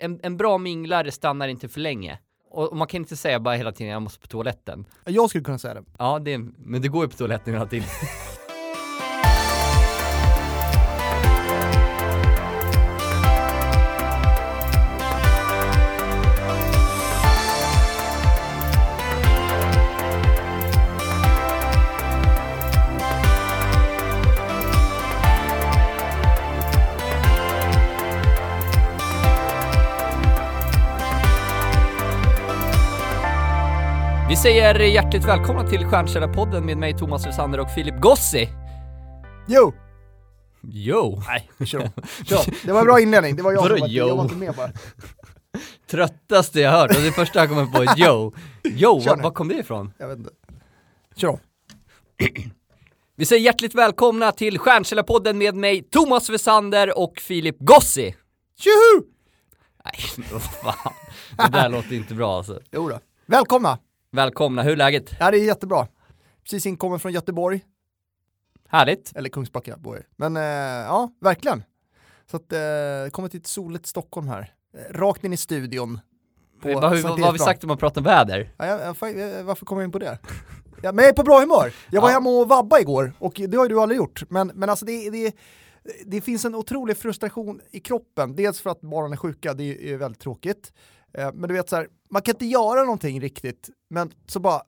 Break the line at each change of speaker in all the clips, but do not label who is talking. en, en bra minglare stannar inte för länge. Och, och man kan inte säga bara hela tiden jag måste på toaletten.
Jag skulle kunna säga det.
Ja, det, men det går ju på toaletten hela tiden. Vi säger hjärtligt välkomna till Stjärnkällarpodden med mig Thomas Rosander och Filip Gossi.
Jo!
Jo! Nej,
Vi kör om. Det var en bra inledning, det var jag
Vadå,
som var, jag
yo?
var inte med bara.
Tröttaste jag hört och det första jag kommer på är Joe. Joe,
Kör
var,
nu.
var kom det ifrån?
Jag vet inte. Kör om.
Vi säger hjärtligt välkomna till Stjärnkällarpodden med mig Thomas Wessander och Filip Gossi.
Tjoho!
Nej, vad fan. Det där låter inte bra alltså.
Jo då. Välkomna!
Välkomna, hur är läget?
Ja, det är jättebra. Precis inkommen från Göteborg,
Härligt?
eller Kungsbacka bor Men eh, ja, verkligen. Så att, eh, kommit till ett soligt Stockholm här. Eh, Rakt in i studion. På
Vad, vad,
Sankt
vad har vi
Eriksplan.
sagt om att prata om väder?
Ja, jag, jag, fan, jag, varför kom jag in på det? Ja, men jag är på bra humör. Jag var
Ja.
hemma och vabba igår och det har ju du aldrig gjort. Men, men alltså det, det, det finns en otrolig frustration i kroppen. Dels för att barnen är sjuka, det är, är väldigt tråkigt. Eh, Men du vet så här, man kan inte göra någonting riktigt, men så bara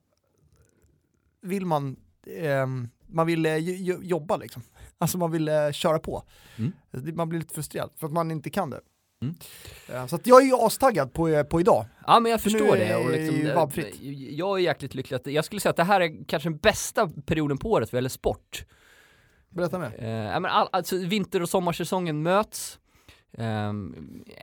vill man, ehm, man vill eh, jo- jo- jobba liksom. Alltså man vill eh, köra på.
Mm.
Alltså, det- Man blir lite frustrerad för att man inte kan det.
Mm.
Eh, Så att jag är ju astaggad på, eh, på idag.
Ja men jag
För nu
förstår
är
det. Och
det ju
liksom,
vabbfritt.
eh, jag är jäkligt lycklig att, jag skulle säga att det här är kanske den bästa perioden på året vad gäller sport.
Berätta mer.
Eh, ja, men all, alltså, vinter och sommarsäsongen möts. Ehm,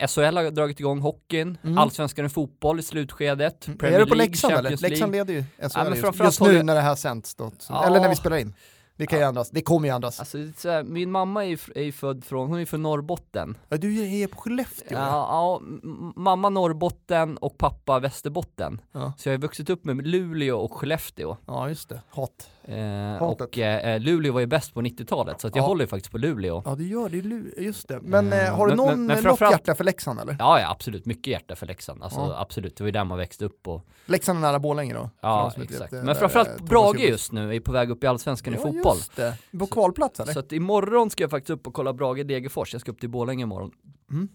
SHL har dragit igång hockeyn,
Mm.
allsvenskan i fotboll i slutskedet.
Mm.
Premier
är du på
League,
Leksand
Champions
eller? Leksand
League.
leder ju SHL
men
just,
framförallt
just nu
håller jag-
när det här sänds då. Så-
Ja.
Eller när vi spelar in. Det kan ju ändras, det kommer ju ändras.
Alltså, det är så här, min mamma är ju, f- är ju född från, hon är ju från Norrbotten.
Ja, du är på Skellefteå.
Ja, ja, m- mamma Norrbotten och pappa Västerbotten.
Ja.
Så jag har vuxit upp med Luleå och Skellefteå.
ja just det. Hot.
Eh,
Hatet.
och eh, Luleå var ju bäst på 90-talet, så att jag
Ja.
håller ju faktiskt på Luleå.
Ja du gör det, Lu- just det. Men
Mm.
eh, har du
Men-
någon,
men- men
något
framförallt-
hjärta för Leksand eller?
Ja, ja, absolut. Mycket hjärta för Leksand. Alltså,
Ja.
absolut. Det var ju där man växte upp och
Leksand är nära Borlänge då. för de
Ja,
som inte
exakt.
vet, eh,
Men
där, eh,
framförallt
Thomas
Brage
Johansson.
just nu är på väg upp i Allsvenskan i
Ja
fotboll.
just det. På kvalplats eller?
Så att imorgon ska jag faktiskt upp och kolla Brage-Degerfors, jag ska upp till Borlänge imorgon.
Mm.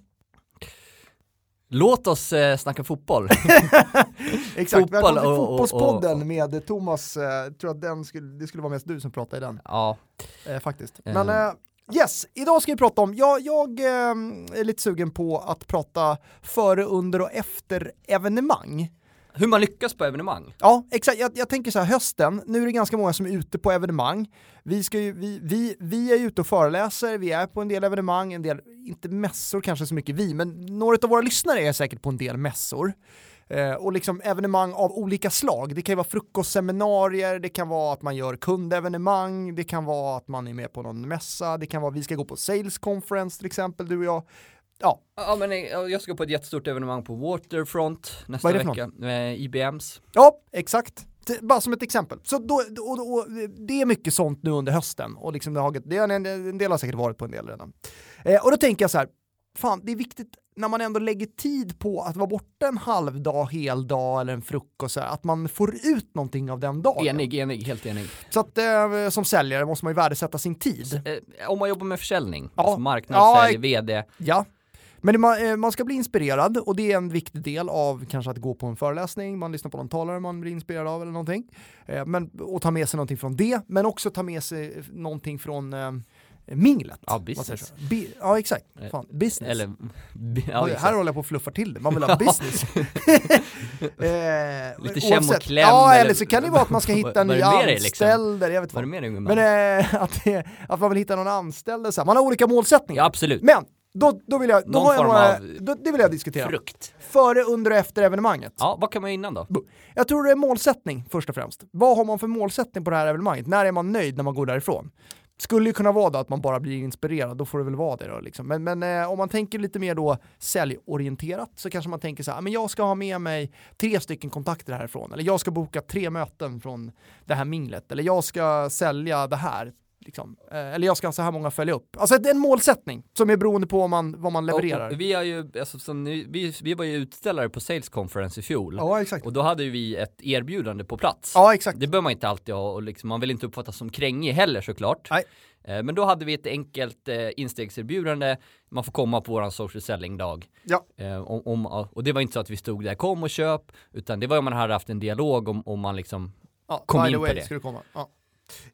Låt oss eh, snacka fotboll.
Exakt,
fotboll
välkommen till
och- och- och-
Fotbollspodden med Thomas. Eh, jag tror att den skulle, det skulle vara mest du som pratade i den.
ja,
Eh, faktiskt.
Eh.
Men eh, yes, idag ska vi prata om, jag, jag ehm, är lite sugen på att prata före, under och efter evenemang.
hur man lyckas på evenemang.
Ja, exakt. Jag, jag tänker så här, hösten, nu är det ganska många som är ute på evenemang. Vi, ska ju, vi, vi, vi är ute och föreläser, vi är på en del evenemang, en del, inte mässor kanske så mycket vi, men några av våra lyssnare är säkert på en del mässor. Eh, och liksom evenemang av olika slag. Det kan ju vara frukostseminarier, det kan vara att man gör kundevenemang, det kan vara att man är med på någon mässa, det kan vara vi ska gå på sales conference till exempel, du och jag. Ja,
Ja, men eh, jag ska på ett jättestort evenemang på Waterfront nästa
Vad är det för
vecka. Eh, IBMs.
Ja, exakt. T- Bara som ett exempel. Så då, då, då, det är mycket sånt nu under hösten. Och liksom det har, det är en, en del har säkert varit på en del redan. Eh, och då tänker jag så här, fan det är viktigt när man ändå lägger tid på att vara borta en halv dag, hel dag eller en frukost, så här, att man får ut någonting av den dagen.
Enig, enig, helt enig.
Så att eh, som säljare måste man ju värdesätta sin tid.
Eh, om man jobbar med försäljning,
Ja.
alltså marknad,
Ja,
sälj, vd.
Ja. Men man, eh, man ska bli inspirerad och det är en viktig del av kanske att gå på en föreläsning, man lyssnar på någon talare man blir inspirerad av eller någonting. Eh, Men, och ta med sig någonting från det, men också ta med sig någonting från eh, minglet.
Ja,
Vad
business.
säger du? Bi- ja, exakt.
Eh,
Fan, business.
Eller, ja,
Oj, här
exakt.
håller jag på och fluffar till det, man vill ha business. eh,
Lite kläm och
oavsett.
kläm
Ja,
eller-
eller så kan det vara att man ska hitta
Vad
en ny
är det med dig, liksom?
anställd, eller jag vet
Vad är
vad.
det med dig
Men
gumman?
eh, att, det- att man vill hitta någon anställd, eller så här. man har olika målsättningar.
Ja, absolut.
Men då, då vill jag, då
Någon
har jag
form
några,
av
då, det vill jag diskutera.
Frukt.
Före, under och efter evenemanget.
Ja, vad kan man göra innan då?
Jag tror det är målsättning först och främst. Vad har man för målsättning på det här evenemanget? När är man nöjd när man går därifrån? Skulle ju kunna vara då att man bara blir inspirerad, då får det väl vara det då. Liksom. Men, men eh, om man tänker lite mer då säljorienterat så kanske man tänker så här, "Ah, men jag ska ha med mig tre stycken kontakter härifrån, eller jag ska boka tre möten från det här minglet, eller jag ska sälja det här liksom, eh, eller jag ska ha så här många att följa upp. Alltså det är en målsättning som är beroende på vad man, vad man
Och-
levererar.
och Vi, är ju, alltså, som ni, vi, vi var ju utställare på Sales Conference i fjol.
ja, exakt.
Och då hade ju vi ett erbjudande på plats.
Ja, exakt.
Det behöver man inte alltid ha och liksom, man vill inte uppfattas som krängig heller såklart.
Nej.
Eh, Men då hade vi ett enkelt eh, instegserbjudande. Man får komma på våran social selling-dag.
Ja.
Eh, om, om, och det var inte så att vi stod där, kom och köp, utan det var om man hade haft en dialog om, om man liksom,
Ja,
Kom
by
in
the
på
way
det.
ska du komma. Ja.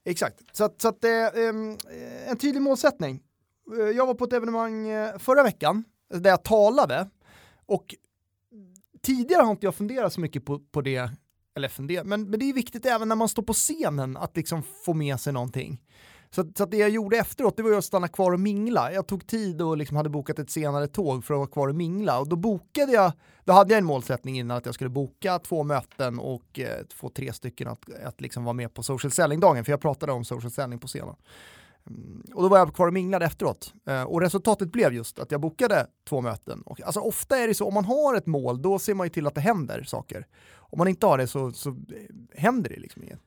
Exakt, så, att, så att, eh, ehm, en tydlig målsättning. Eh, Jag var på ett evenemang eh, förra veckan där jag talade och tidigare har inte jag funderat så mycket på, på det, eller funderat, men, men det är viktigt även när man står på scenen att liksom få med sig någonting. Så, att- så att det jag gjorde efteråt det var ju att stanna kvar och mingla. Jag tog tid och liksom hade bokat ett senare tåg för att vara kvar och mingla och då bokade jag, då hade jag en målsättning innan att jag skulle boka två möten och eh, få tre stycken att, att liksom vara med på social selling-dagen för jag pratade om social selling på scenen. Mm, Och då var jag kvar och minglade efteråt. Eh, Och resultatet blev just att jag bokade två möten. Och alltså ofta är det så, om man har ett mål, då ser man ju till att det händer saker. Om man inte har det så, så eh, händer det liksom inget.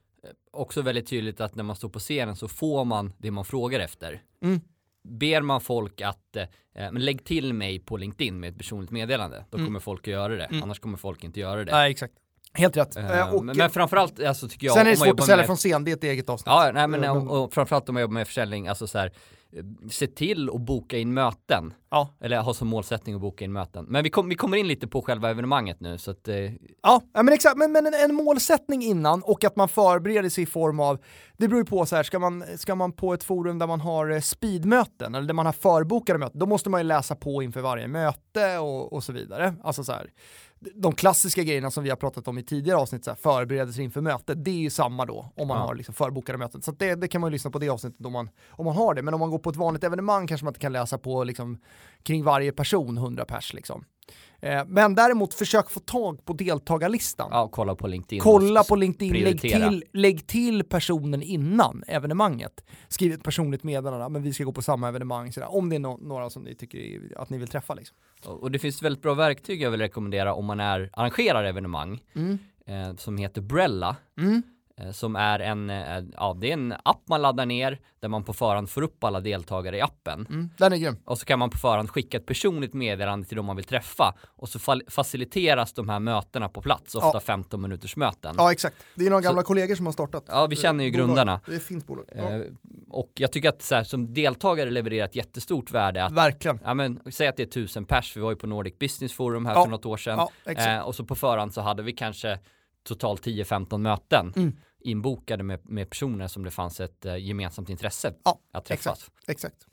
också väldigt tydligt att när man står på scenen så får man det man frågar efter.
Mm.
Ber man folk att eh, men lägg till mig på LinkedIn med ett personligt meddelande, då
Mm.
kommer folk att göra det.
Mm.
Annars kommer folk inte göra det.
Nej, exakt. Helt rätt.
Eh,
Eh, och,
men, men framförallt alltså, tycker jag...
sen är det
om man
svårt
jobbar
att sälja
med-
från scen, det är ett eget avsnitt.
Ja, nej, men,
Ja, men-
Och, och framförallt om man jobbar med försäljning, alltså så här, eh, se till att boka in möten.
Ja.
Eller ha som målsättning att boka in möten. Men vi, kom, vi kommer in lite på själva evenemanget nu, så att, eh,
Ja, ja, men exakt. Men, men en, en målsättning innan och att man förbereder sig i form av, det beror ju på så här, ska man, ska man på ett forum där man har eh, speedmöten eller där man har förbokade möten, då måste man ju läsa på inför varje möte och, och så vidare. Alltså så här, de klassiska grejerna som vi har pratat om i tidigare avsnitt, så här, förberedelser inför möte, det är ju samma då om man
Ja.
har liksom förbokade möten. Så att det, det kan man ju lyssna på det avsnittet om man, om man har det. Men om man går på ett vanligt evenemang kanske man inte kan läsa på liksom, kring varje person, 100 pers liksom. Eh, Men däremot försök få tag på deltagarlistan.
ja, kolla på LinkedIn.
Kolla på LinkedIn, lägg
prioritera.
till, lägg till personen innan evenemanget. Skriv ett personligt meddelande, men vi ska gå på samma evenemang, sådär. om det är no- några som ni tycker är- att ni vill träffa. Liksom.
Och och det finns väldigt bra verktyg jag vill rekommendera om man är, arrangerar evenemang
Mm.
eh, som heter Brella.
Mm.
eh, Som är en, eh, ja, det är en app man laddar ner där man på förhand får upp alla deltagare i appen.
Mm. Den är grym.
Och så kan man på förhand skicka ett personligt meddelande till de man vill träffa. Och så fal- faciliteras de här mötena på plats, ofta
Ja.
15 minuters möten. Ja.
Ja, exakt. Det är några gamla kollegor som har startat.
vi känner ju
Bolag.
grundarna.
Det är ett fint bolag. Ja.
Eh, och jag tycker att så här, som deltagare levererar ett jättestort värde att
Verkligen.
Ja men säg att det är tusen pers, vi var ju på Nordic Business Forum här
Ja.
för något år sedan.
Ja, exakt.
eh, och så på förhand så hade vi kanske totalt 10-15 möten
Mm.
inbokade med, med personer som det fanns ett eh, gemensamt intresse
Ja,
att träffas.
Exakt.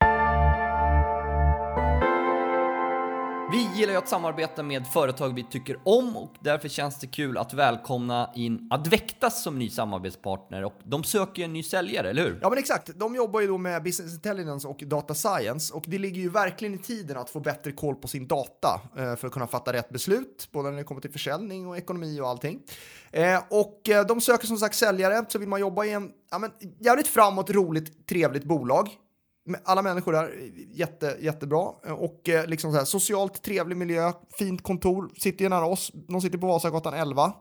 Vi gillar ju att samarbeta med företag vi tycker om och därför känns det kul att välkomna in Advectas som ny samarbetspartner och de söker ju en ny säljare, eller hur?
Ja men exakt, de jobbar ju då med business intelligence och data science och det ligger ju verkligen i tiden att få bättre koll på sin data eh, för att kunna fatta rätt beslut, både när det kommer till försäljning och ekonomi och allting. Eh, Och eh, de söker som sagt säljare, så vill man jobba i en ja, men, jävligt framåt, roligt, trevligt bolag. Med Alla människor där, eh, jätte, jättebra. Eh, Och eh, liksom så här, socialt trevlig miljö, fint kontor, sitter ju nära oss. De sitter på Vasagatan 11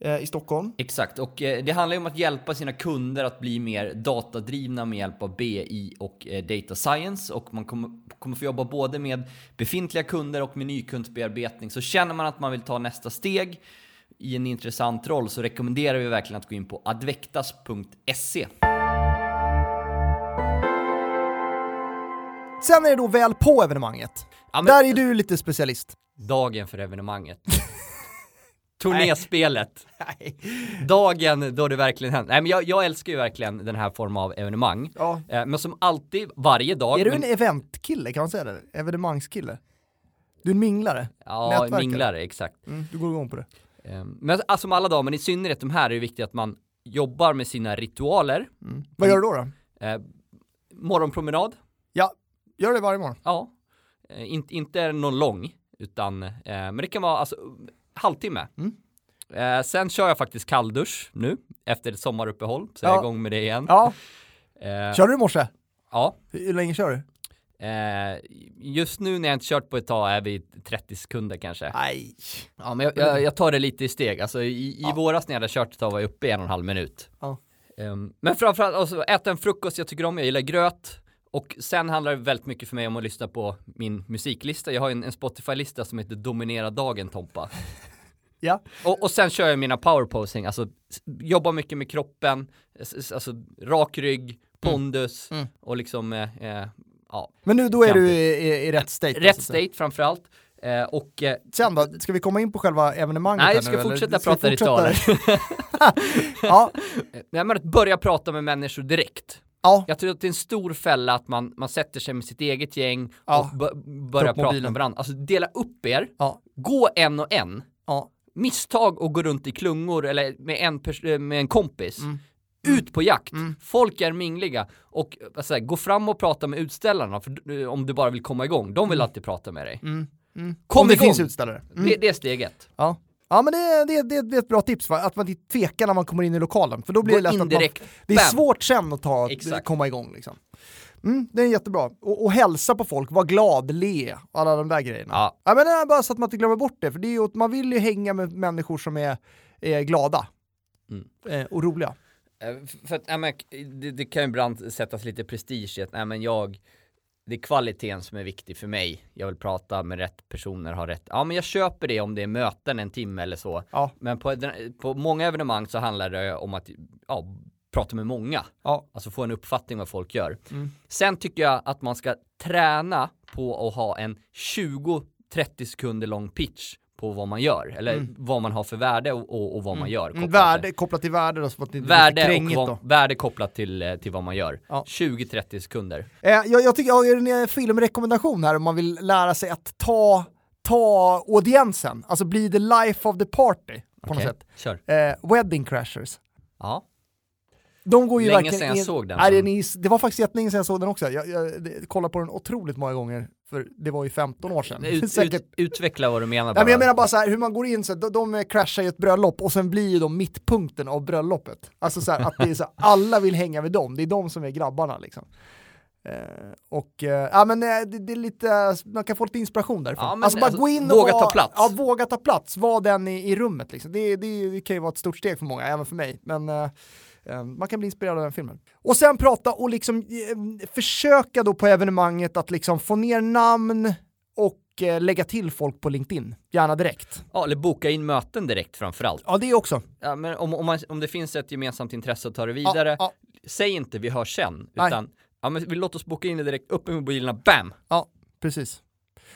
eh, i Stockholm.
Exakt, och eh, det handlar ju om att hjälpa sina kunder att bli mer datadrivna med hjälp av BI och eh, data science. Och man kommer, kommer få jobba både med befintliga kunder och med nykundsbearbetning. Så känner man att man vill ta nästa steg i en intressant roll så rekommenderar vi verkligen att gå in på advectas.se.
Sen är det då väl på evenemanget.
Ja, men-
Där är du lite specialist.
Dagen för evenemanget. Turnéspelet. Dagen då det verkligen händer. Nej, men jag, jag älskar ju verkligen den här formen av evenemang.
Ja.
Eh, Men som alltid, varje dag.
Är du
men-
en eventkille? Kan man säga det? Evenemangskille? Du är en minglare?
Ja,
Nätverkare?
minglare, exakt.
Mm, du går igång på det.
Eh, Men alltså, som alla dagar, men i synnerhet de här är det viktigt att man jobbar med sina ritualer.
Vad gör du då? då?
Eh, morgonpromenad,
Ja, gör det varje morgon.
ja. Eh, in, inte någon lång, utan, eh, men det kan vara alltså, halvtimme.
Mm.
Eh, sen kör jag faktiskt kalldusch nu, efter ett sommaruppehåll, så jag är
Ja.
igång med det igen.
Ja.
Eh,
Körde du i morse?
ja.
Hur länge kör du?
Eh, just nu när jag inte kört på ett tag är vi 30 sekunder kanske.
Nej.
Ja, men jag, jag, jag tar det lite i steg. Alltså, i, i våras när jag hade kört ett tag var jag uppe i en och en halv minut.
Ja.
Um, men framförallt, alltså, äta en frukost jag tycker om, jag gillar gröt. Och sen handlar det väldigt mycket för mig om att lyssna på min musiklista. Jag har en, en Spotify-lista som heter Dominera dagen Tompa.
Ja.
Och, och sen kör jag mina powerposing, alltså s- jobbar mycket med kroppen, s- s- alltså rak rygg, pondus
Mm.
och liksom, eh, eh, ja,
Men nu då är
Kan
du
bli.
i, i, i rätt state. alltså, så.
rätt state framförallt. Eh, och eh,
Sen då, ska vi komma in på själva evenemanget?
Nej,
här
jag ska
nu, eller?
fortsätta
Ska vi
prata
ja,
nej, men att börja prata med människor direkt.
ja,
Jag tror att det är en stor fälla att man, man sätter sig med sitt eget gäng
Ja.
och bör, börjar
upp
prata
mobilen.
med varandra. Alltså dela upp er,
ja,
gå en och en.
ja.
Misstag och gå runt i klungor eller med en, pers- eh, med en kompis.
Mm.
Ut på jakt, folk är mingliga och eh, alltså, här, gå fram och prata med utställarna för, eh, om du bara vill komma igång. De vill alltid prata med dig. Kom
Mm. Om det
igång!
finns utställare. Mm.
Det, det är steg ett.
Ja. Ja men det, det, det, det är ett bra tips, va? att man inte tvekar när man kommer in i lokalen. För då blir
Gå
det lätt
in
att man,
direkt.
Det är
Bam.
svårt sen att ta,
Exakt.
komma igång. Liksom. Mm, det är jättebra. Och, och hälsa på folk, var glad, le och alla de där grejerna.
Ja.
men det är bara så att man inte glömmer bort det, för det är ju, att man vill ju hänga med människor som är, är glada
Mm.
eh, och roliga.
Eh, f- För att, nej, men, det, det kan ju ibland sättas lite prestige i att, nej men jag, det är kvaliteten som är viktig för mig. Jag vill prata med rätt personer, ha rätt, ja men jag köper det om det är möten en timme eller så.
Ja.
Men på, den- på många evenemang så handlar det om att, ja, prata med många.
Ja.
Alltså få en uppfattning vad folk gör. Sen tycker jag att man ska träna på att ha en 20-30 sekunder lång pitch på vad man gör, eller vad man har för värde och, och, och vad man gör. kopplat till-
Mm, Värde, kopplat till värde då, så att det inte blir för
Värde,
krängigt
och
då.
vad, värde kopplat till, eh, till vad man gör.
Ja.
20-30 sekunder.
Eh, jag, jag tycker jag har en eh, filmrekommendation här om man vill lära sig att ta, ta audiensen, alltså bli the life of the party på
Okej,
något sätt.
Kör.
Eh, Wedding Crashers.
Ja.
De går ju
Länge
verkligen
sedan jag
in-
såg den.
Nej, den är, det var faktiskt jättelänge sedan jag såg den också. Jag, jag det- kollade på den otroligt många gånger, för det var ju 15 år sedan.
Ut,
Säkert.
ut, utveckla vad du menar
Nej, men jag menar bara så här, hur man går in, så här, de, de eh, crashar i ett bröllop och sen blir ju de mittpunkten av bröllopet. Alltså så här, att det är så här, alla vill hänga med dem, det är de som är grabbarna liksom. Eh, och eh, ja, men eh, det, det är lite, eh, man kan få lite inspiration därifrån.
Ja, men
alltså bara
alltså,
gå in och
våga ta
vara-
plats.
Ja, våga ta plats, var den i, i rummet liksom. Det, det, det kan ju vara ett stort steg för många, även för mig. Men eh, eh, man kan bli inspirerad av den filmen. Och sen prata och liksom eh, försöka då på evenemanget att liksom få ner namn och eh, lägga till folk på LinkedIn, gärna direkt.
Ja, eller boka in möten direkt framförallt.
Ja, det också.
Ja, men om, om, man, om det finns ett gemensamt intresse att ta det vidare,
Ja,
säg inte vi hörs sen,
Nej.
utan ja, men vi låt oss boka in det direkt, upp med mobilerna, bam!
Ja, precis.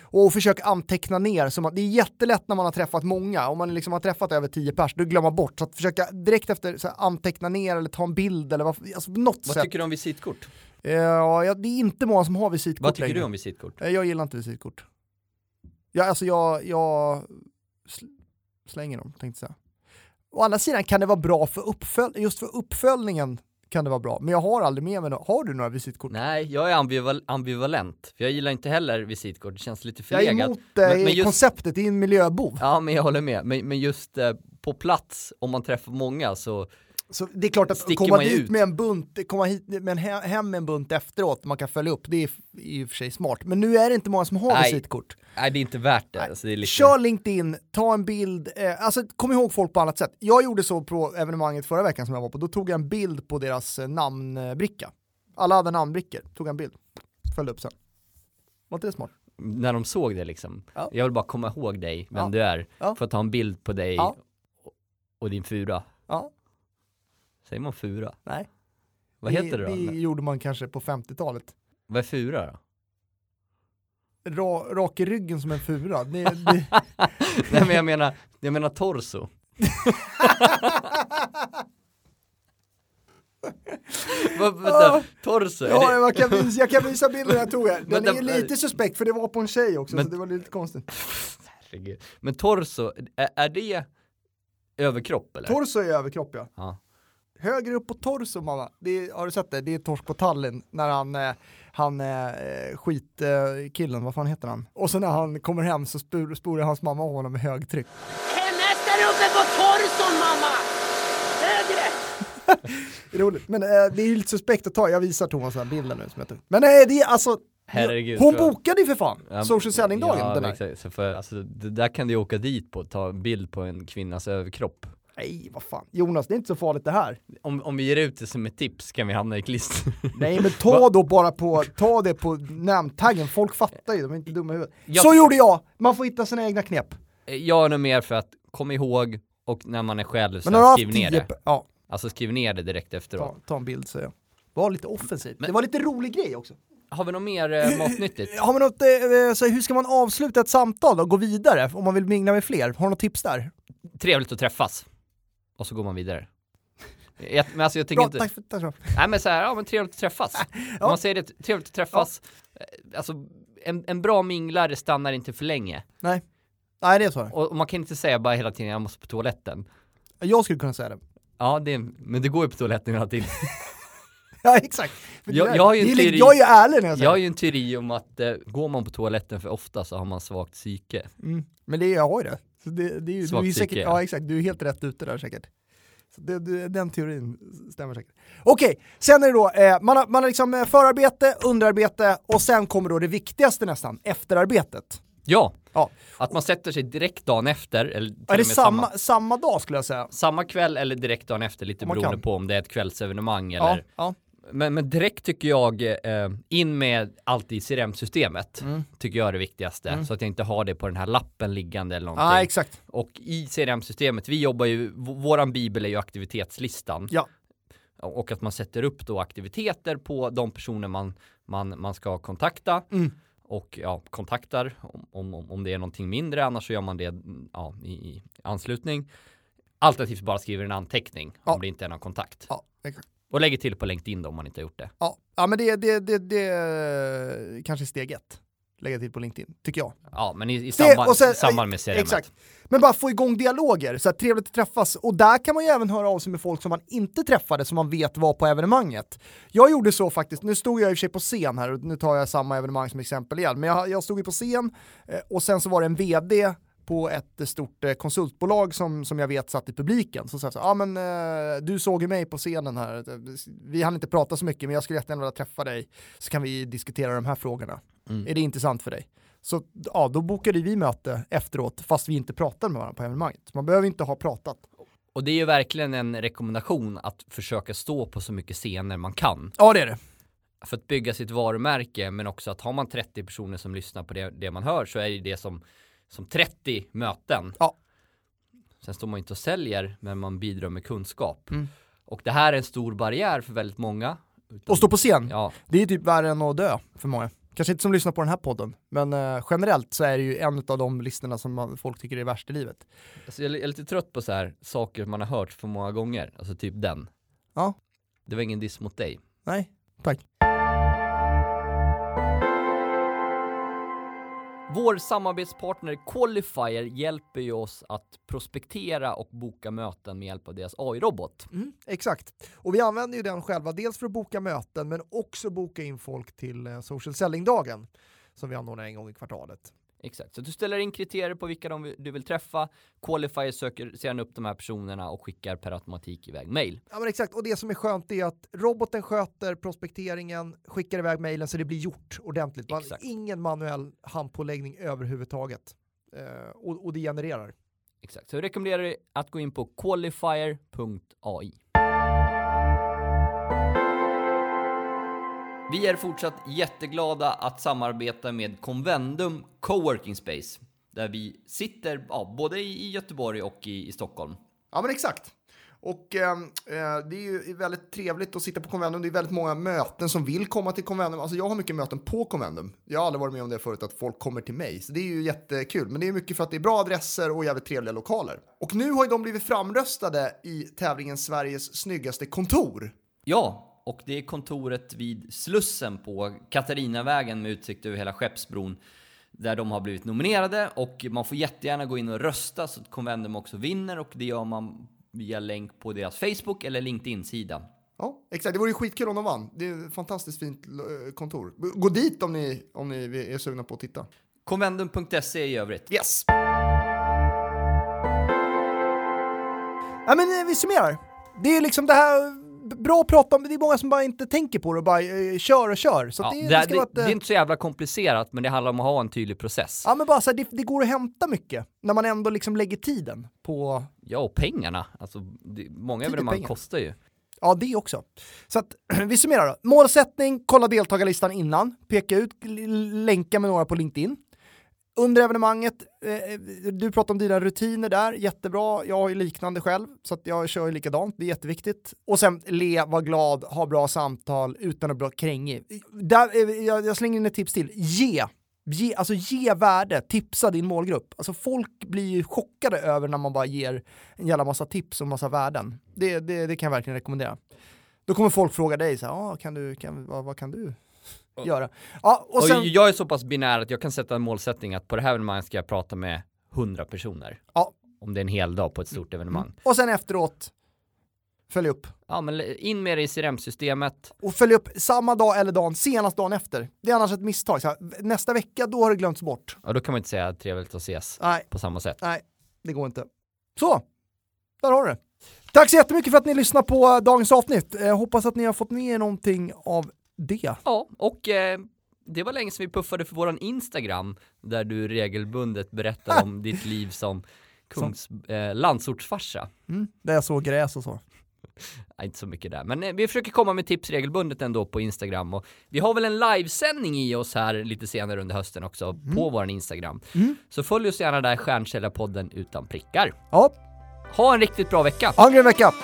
Och försök anteckna ner, som att det är jättelätt när man har träffat många, om man liksom har träffat över tio pers, då glömmer man bort. Så att försöka direkt efter så här, anteckna ner eller ta en bild eller vad, alltså på något
Vad
sätt.
tycker du om visitkort?
Eh, ja, det är inte många som har visitkort
Vad tycker
längre.
du om visitkort?
Eh, Jag gillar inte visitkort. Jag, alltså jag, jag sl slänger dem, tänkte jag säga. Å andra sidan kan det vara bra för uppföljningen, just för uppföljningen kan det vara bra, men jag har aldrig med mig några. Har du några visitkort?
Nej, jag är ambival- ambivalent, för jag gillar inte heller visitkort, det känns lite
jag
förlegat.
är emot eh,
men, men just
konceptet, det är en miljöbov.
Ja, men jag håller med. Men, men just eh, på plats, om man träffar många så,
Så det är klart att
Sticker
komma
man ju
dit
ut.
med en bunt, komma hit med en he- hem med en bunt efteråt, man kan följa upp, det är f- i och för sig smart. Men nu är det inte många som har
Nej.
visitkort.
nej det är inte värt det. Alltså, det är lite...
Kör LinkedIn, ta en bild, eh, alltså kom ihåg folk på annat sätt. Jag gjorde så på evenemanget förra veckan som jag var på, då tog jag en bild på deras eh, namnbricka. Alla hade namnbrickor, tog en bild, följde upp sen. Var inte det smart?
När de såg det liksom.
Ja.
Jag vill bara komma ihåg dig, vem
Ja.
du är.
Ja.
För att ta en bild på dig
Ja.
och din fura.
Ja,
Säger man fura?
nej.
Vad heter det, då?
Det gjorde man kanske på 50-talet.
Vad är fura då?
Ra, rak i ryggen som en fura. Det, det,
nej men jag menar, jag menar torso. Vad- Vänta, torso? är
Ja,
det...
jag kan visa, jag kan visa bilden jag tog här. Den
Vänta,
är ju lite suspekt för det var på en tjej också,
Men-
så det var lite konstigt.
Herregud. Men torso, är, är det överkropp eller?
Torso är överkropp ja.
ja.
Högre upp på torso mamma, det är, har du sett det? Det är torsk på tallen när han, eh, han eh, skitkillen, eh, killen, vad fan heter han? Och så när han kommer hem så spor, sporar hans mamma av honom med högtryck.
Hennes där uppe på torson, mamma! Högre!
Det är Roligt. Men eh, det är ju lite suspekt att ta, jag visar Thomas den här bilden nu som jag tog. Men nej, det är alltså,
Herregud,
hon
tror jag.
bokade ju för fan
Ja,
social selling-dagen
ja,
den här.
exakt. Så för, alltså, det där kan du ju åka dit på, ta en bild på en kvinnas överkropp.
Nej, vad fan. Jonas, det är inte så farligt det här.
Om, om vi ger ut det som ett tips kan vi hamna i klister.
Nej, men ta då bara på, ta det på namntaggen. Folk fattar ju, de är inte dumma i huvudet.
Jag-
Så gjorde jag! Man får hitta sina egna knep.
Jag är nog mer för att kom ihåg och när man är själv så
Men har du haft
skriv ner
tio
det.
p- Ja,
Alltså skriv ner det direkt efteråt.
ta, ta en bild säger jag. Var lite offensiv.
Men-
Det var lite rolig grej också.
Har vi något mer eh, matnyttigt?
Har man något, eh, så här, hur ska man avsluta ett samtal då? Gå vidare om man vill mingla med fler? Har du något tips där?
Trevligt att träffas. Och så går man vidare. Jag, men alltså jag tänker
Bra,
inte...
tack för tack så.
Nej men så här, ja men trevligt att träffas. Om man säger det, trevligt att träffas. eh, Alltså en, en bra minglare stannar inte för länge.
Nej. Nej, det är så.
Och, och man kan inte säga bara hela tiden jag måste på toaletten.
Jag skulle kunna säga det.
Ja, det, men det går ju på toaletten hela tiden.
Ja, exakt. För
Jag-
det där-
jag har ju en
det är li-
teori-
jag är ju ärlig när jag säger
Jag har ju en teori om att eh, går man på toaletten för ofta så har man svagt psyke.
det. Mm. Men det är, jag har ju det. Så det, det är ju, du är
Svagt
ju
psyke,
säkert,
ja.
ja, exakt. Du är helt rätt ute där säkert. Så det, det, den teorin stämmer säkert. Okej, sen är det då, eh, man, har, man har liksom eh, förarbete, underarbete och sen kommer då det viktigaste nästan, efterarbetet.
Ja,
Ja,
att man sätter sig direkt dagen efter, eller till och
är det
med
samma,
samma,
samma, dag skulle jag säga?
samma kväll eller direkt dagen efter, lite
Om man
beroende
kan.
på om det är ett kvällsevenemang
Ja,
eller.
ja.
Men, men direkt tycker jag, eh, in med allt i CRM-systemet,
Mm.
tycker jag är det viktigaste. Så att jag inte har det på den här lappen liggande eller någonting.
Ah, exakt.
Och i CRM-systemet, vi jobbar ju, v- våran bibel är ju aktivitetslistan.
Ja.
Och att man sätter upp då aktiviteter på de personer man, man, man ska kontakta.
Mm.
Och ja, kontaktar om- om, om, om det är någonting mindre, annars så gör man det mm, ja, i, i anslutning. Alternativt bara skriver en anteckning
Ja.
om det inte är någon kontakt.
Ja, exakt.
Och lägger till på LinkedIn då, om man inte har gjort det.
Ja. ja, men det, det, det, det är kanske är steg ett. Lägga till på LinkedIn, tycker jag.
Ja, men i, i,
Det-
samband,
och sen-
i samband med CRM.
Exakt. Men bara få igång dialoger, så här, trevligt att träffas. Och där kan man ju även höra av sig med folk som man inte träffade, som man vet var på evenemanget. Jag gjorde så faktiskt, nu stod jag i och för sig på scen här, och nu tar jag samma evenemang som exempel igen, men jag, jag stod ju på scen eh, och sen så var det en vd på ett eh, stort eh, konsultbolag som, som jag vet satt i publiken. Så sa jag så här, ah, men eh, du såg ju mig på scenen här, vi hann inte prata så mycket men jag skulle jättegärna vilja träffa dig så kan vi diskutera de här frågorna.
Mm.
Är det intressant för dig? Så ja, då bokade vi möte efteråt fast vi inte pratade med varandra på evenemanget. Man behöver inte ha pratat.
Och det är ju verkligen en rekommendation att försöka stå på så mycket scener man kan.
Ja, det är det.
för att bygga sitt varumärke men också att har man 30 personer som lyssnar på det, det man hör så är det det som, som 30 möten.
Ja.
Sen står man inte och säljer men man bidrar med kunskap.
Mm.
Och det här är en stor barriär för väldigt många. Utan-
Och stå på scen.
Ja,
Det är typ värre än att dö för många. Kanske inte som lyssnar på den här podden, men eh, generellt så är det ju en av de listorna som man, folk tycker är värst i livet.
alltså jag är lite trött på så här saker man har hört för många gånger, alltså typ den.
Ja.
Det var ingen diss mot dig.
Nej, tack.
Vår samarbetspartner Qualifier hjälper ju oss att prospektera och boka möten med hjälp av deras AI-robot.
Exakt. Och vi använder ju den själva, dels för att boka möten, men också boka in folk till eh, social selling-dagen som vi anordnar en gång i kvartalet.
Exakt, så du ställer in kriterier på vilka de, du vill träffa. Qualifier söker sedan upp de här personerna och skickar per automatik iväg mail.
Ja men exakt, och det som är skönt är att roboten sköter prospekteringen, skickar iväg mejlen så det blir gjort ordentligt. Man,
Exakt.
ingen manuell handpåläggning överhuvudtaget. Eh, och, och det genererar.
Exakt, så jag rekommenderar dig att gå in på qualifier.ai. Vi är fortsatt jätteglada att samarbeta med Convendum Coworking Space där vi sitter ja, både i i Göteborg och i, i Stockholm.
Ja, men exakt. Och ehm, eh, det är ju väldigt trevligt att sitta på Convendum. Det är väldigt många möten som vill komma till Convendum. Alltså jag har mycket möten på Convendum. Jag har aldrig varit med om det förut, att folk kommer till mig. Så det är ju jättekul. Men det är mycket för att det är bra adresser och jävligt trevliga lokaler. Och nu har ju de blivit framröstade i tävlingen Sveriges snyggaste kontor.
Ja, och det är kontoret vid Slussen på Katarinavägen med utsikt över hela Skeppsbron där de har blivit nominerade och man får jättegärna gå in och rösta så att Convendum också vinner och det gör man via länk på deras Facebook eller LinkedIn-sida.
Ja, exakt. Det vore ju skitkul om de vann. Det är ett fantastiskt fint eh, kontor. Gå dit om ni, om ni är sugna på att titta.
Convendum.se i övrigt.
Yes! Ja, men eh, vi summerar. Det är liksom det här bra att prata om, det är många som bara inte tänker på det och bara eh, kör och kör. Så
Ja,
att det,
det,
det,
här-
ska
det,
vara ett, eh,
det är inte så jävla komplicerat, men det handlar om att ha en tydlig process.
Ja men bara så här, det, det går att hämta mycket när man ändå liksom lägger tiden på,
Ja, och pengarna. Alltså, det, många
Tid och
evenemang
pengar.
kostar ju.
ja det också. Så att vi summerar då. Målsättning, kolla deltagarlistan innan, peka ut, l- länka med några på LinkedIn. Under evenemanget, eh, du pratar om dina rutiner där, jättebra. Jag har ju liknande själv, så att jag kör ju likadant, det är jätteviktigt. Och sen le, var glad, ha bra samtal utan att bli krängig. Där, eh, jag, jag slänger in ett tips till, ge. Ge, alltså ge värde, tipsa din målgrupp. Alltså folk blir ju chockade över när man bara ger en jävla massa tips och massa värden. Det, det, det kan jag verkligen rekommendera. Då kommer folk fråga dig, så här, ah, kan du, kan, vad, vad kan du göra? Ja, och
Och
sen,
jag är så pass binär att jag kan sätta en målsättning att på det här evenemanget ska jag prata med 100 personer.
ja, Mm.
Om det är en hel dag på ett stort evenemang.
och sen efteråt, följ upp.
Ja, men in med det i CRM-systemet.
och följa upp samma dag eller dagen, senast dagen efter. Det är annars ett misstag. Så här, nästa vecka, då har det glömts bort.
Ja, då kan man inte säga trevligt att ses
Nej,
på samma sätt.
nej, det går inte. Så, där har du det. Tack så jättemycket för att ni lyssnar på eh, dagens avsnitt. Eh, hoppas att ni har fått med er någonting av det.
Ja, och eh, det var länge sedan vi puffade för våran Instagram där du regelbundet berättar om ditt liv som kungs, eh, landsortsfarsa.
Mm, där jag såg gräs och så.
Nej, inte så mycket där, men eh, vi försöker komma med tips regelbundet ändå på Instagram och vi har väl en livesändning i oss här lite senare under hösten också på våran Instagram. Så följ oss gärna där, Stjärnkällarpodden utan prickar.
Ja,
Ha en riktigt bra vecka!
ha en grym vecka!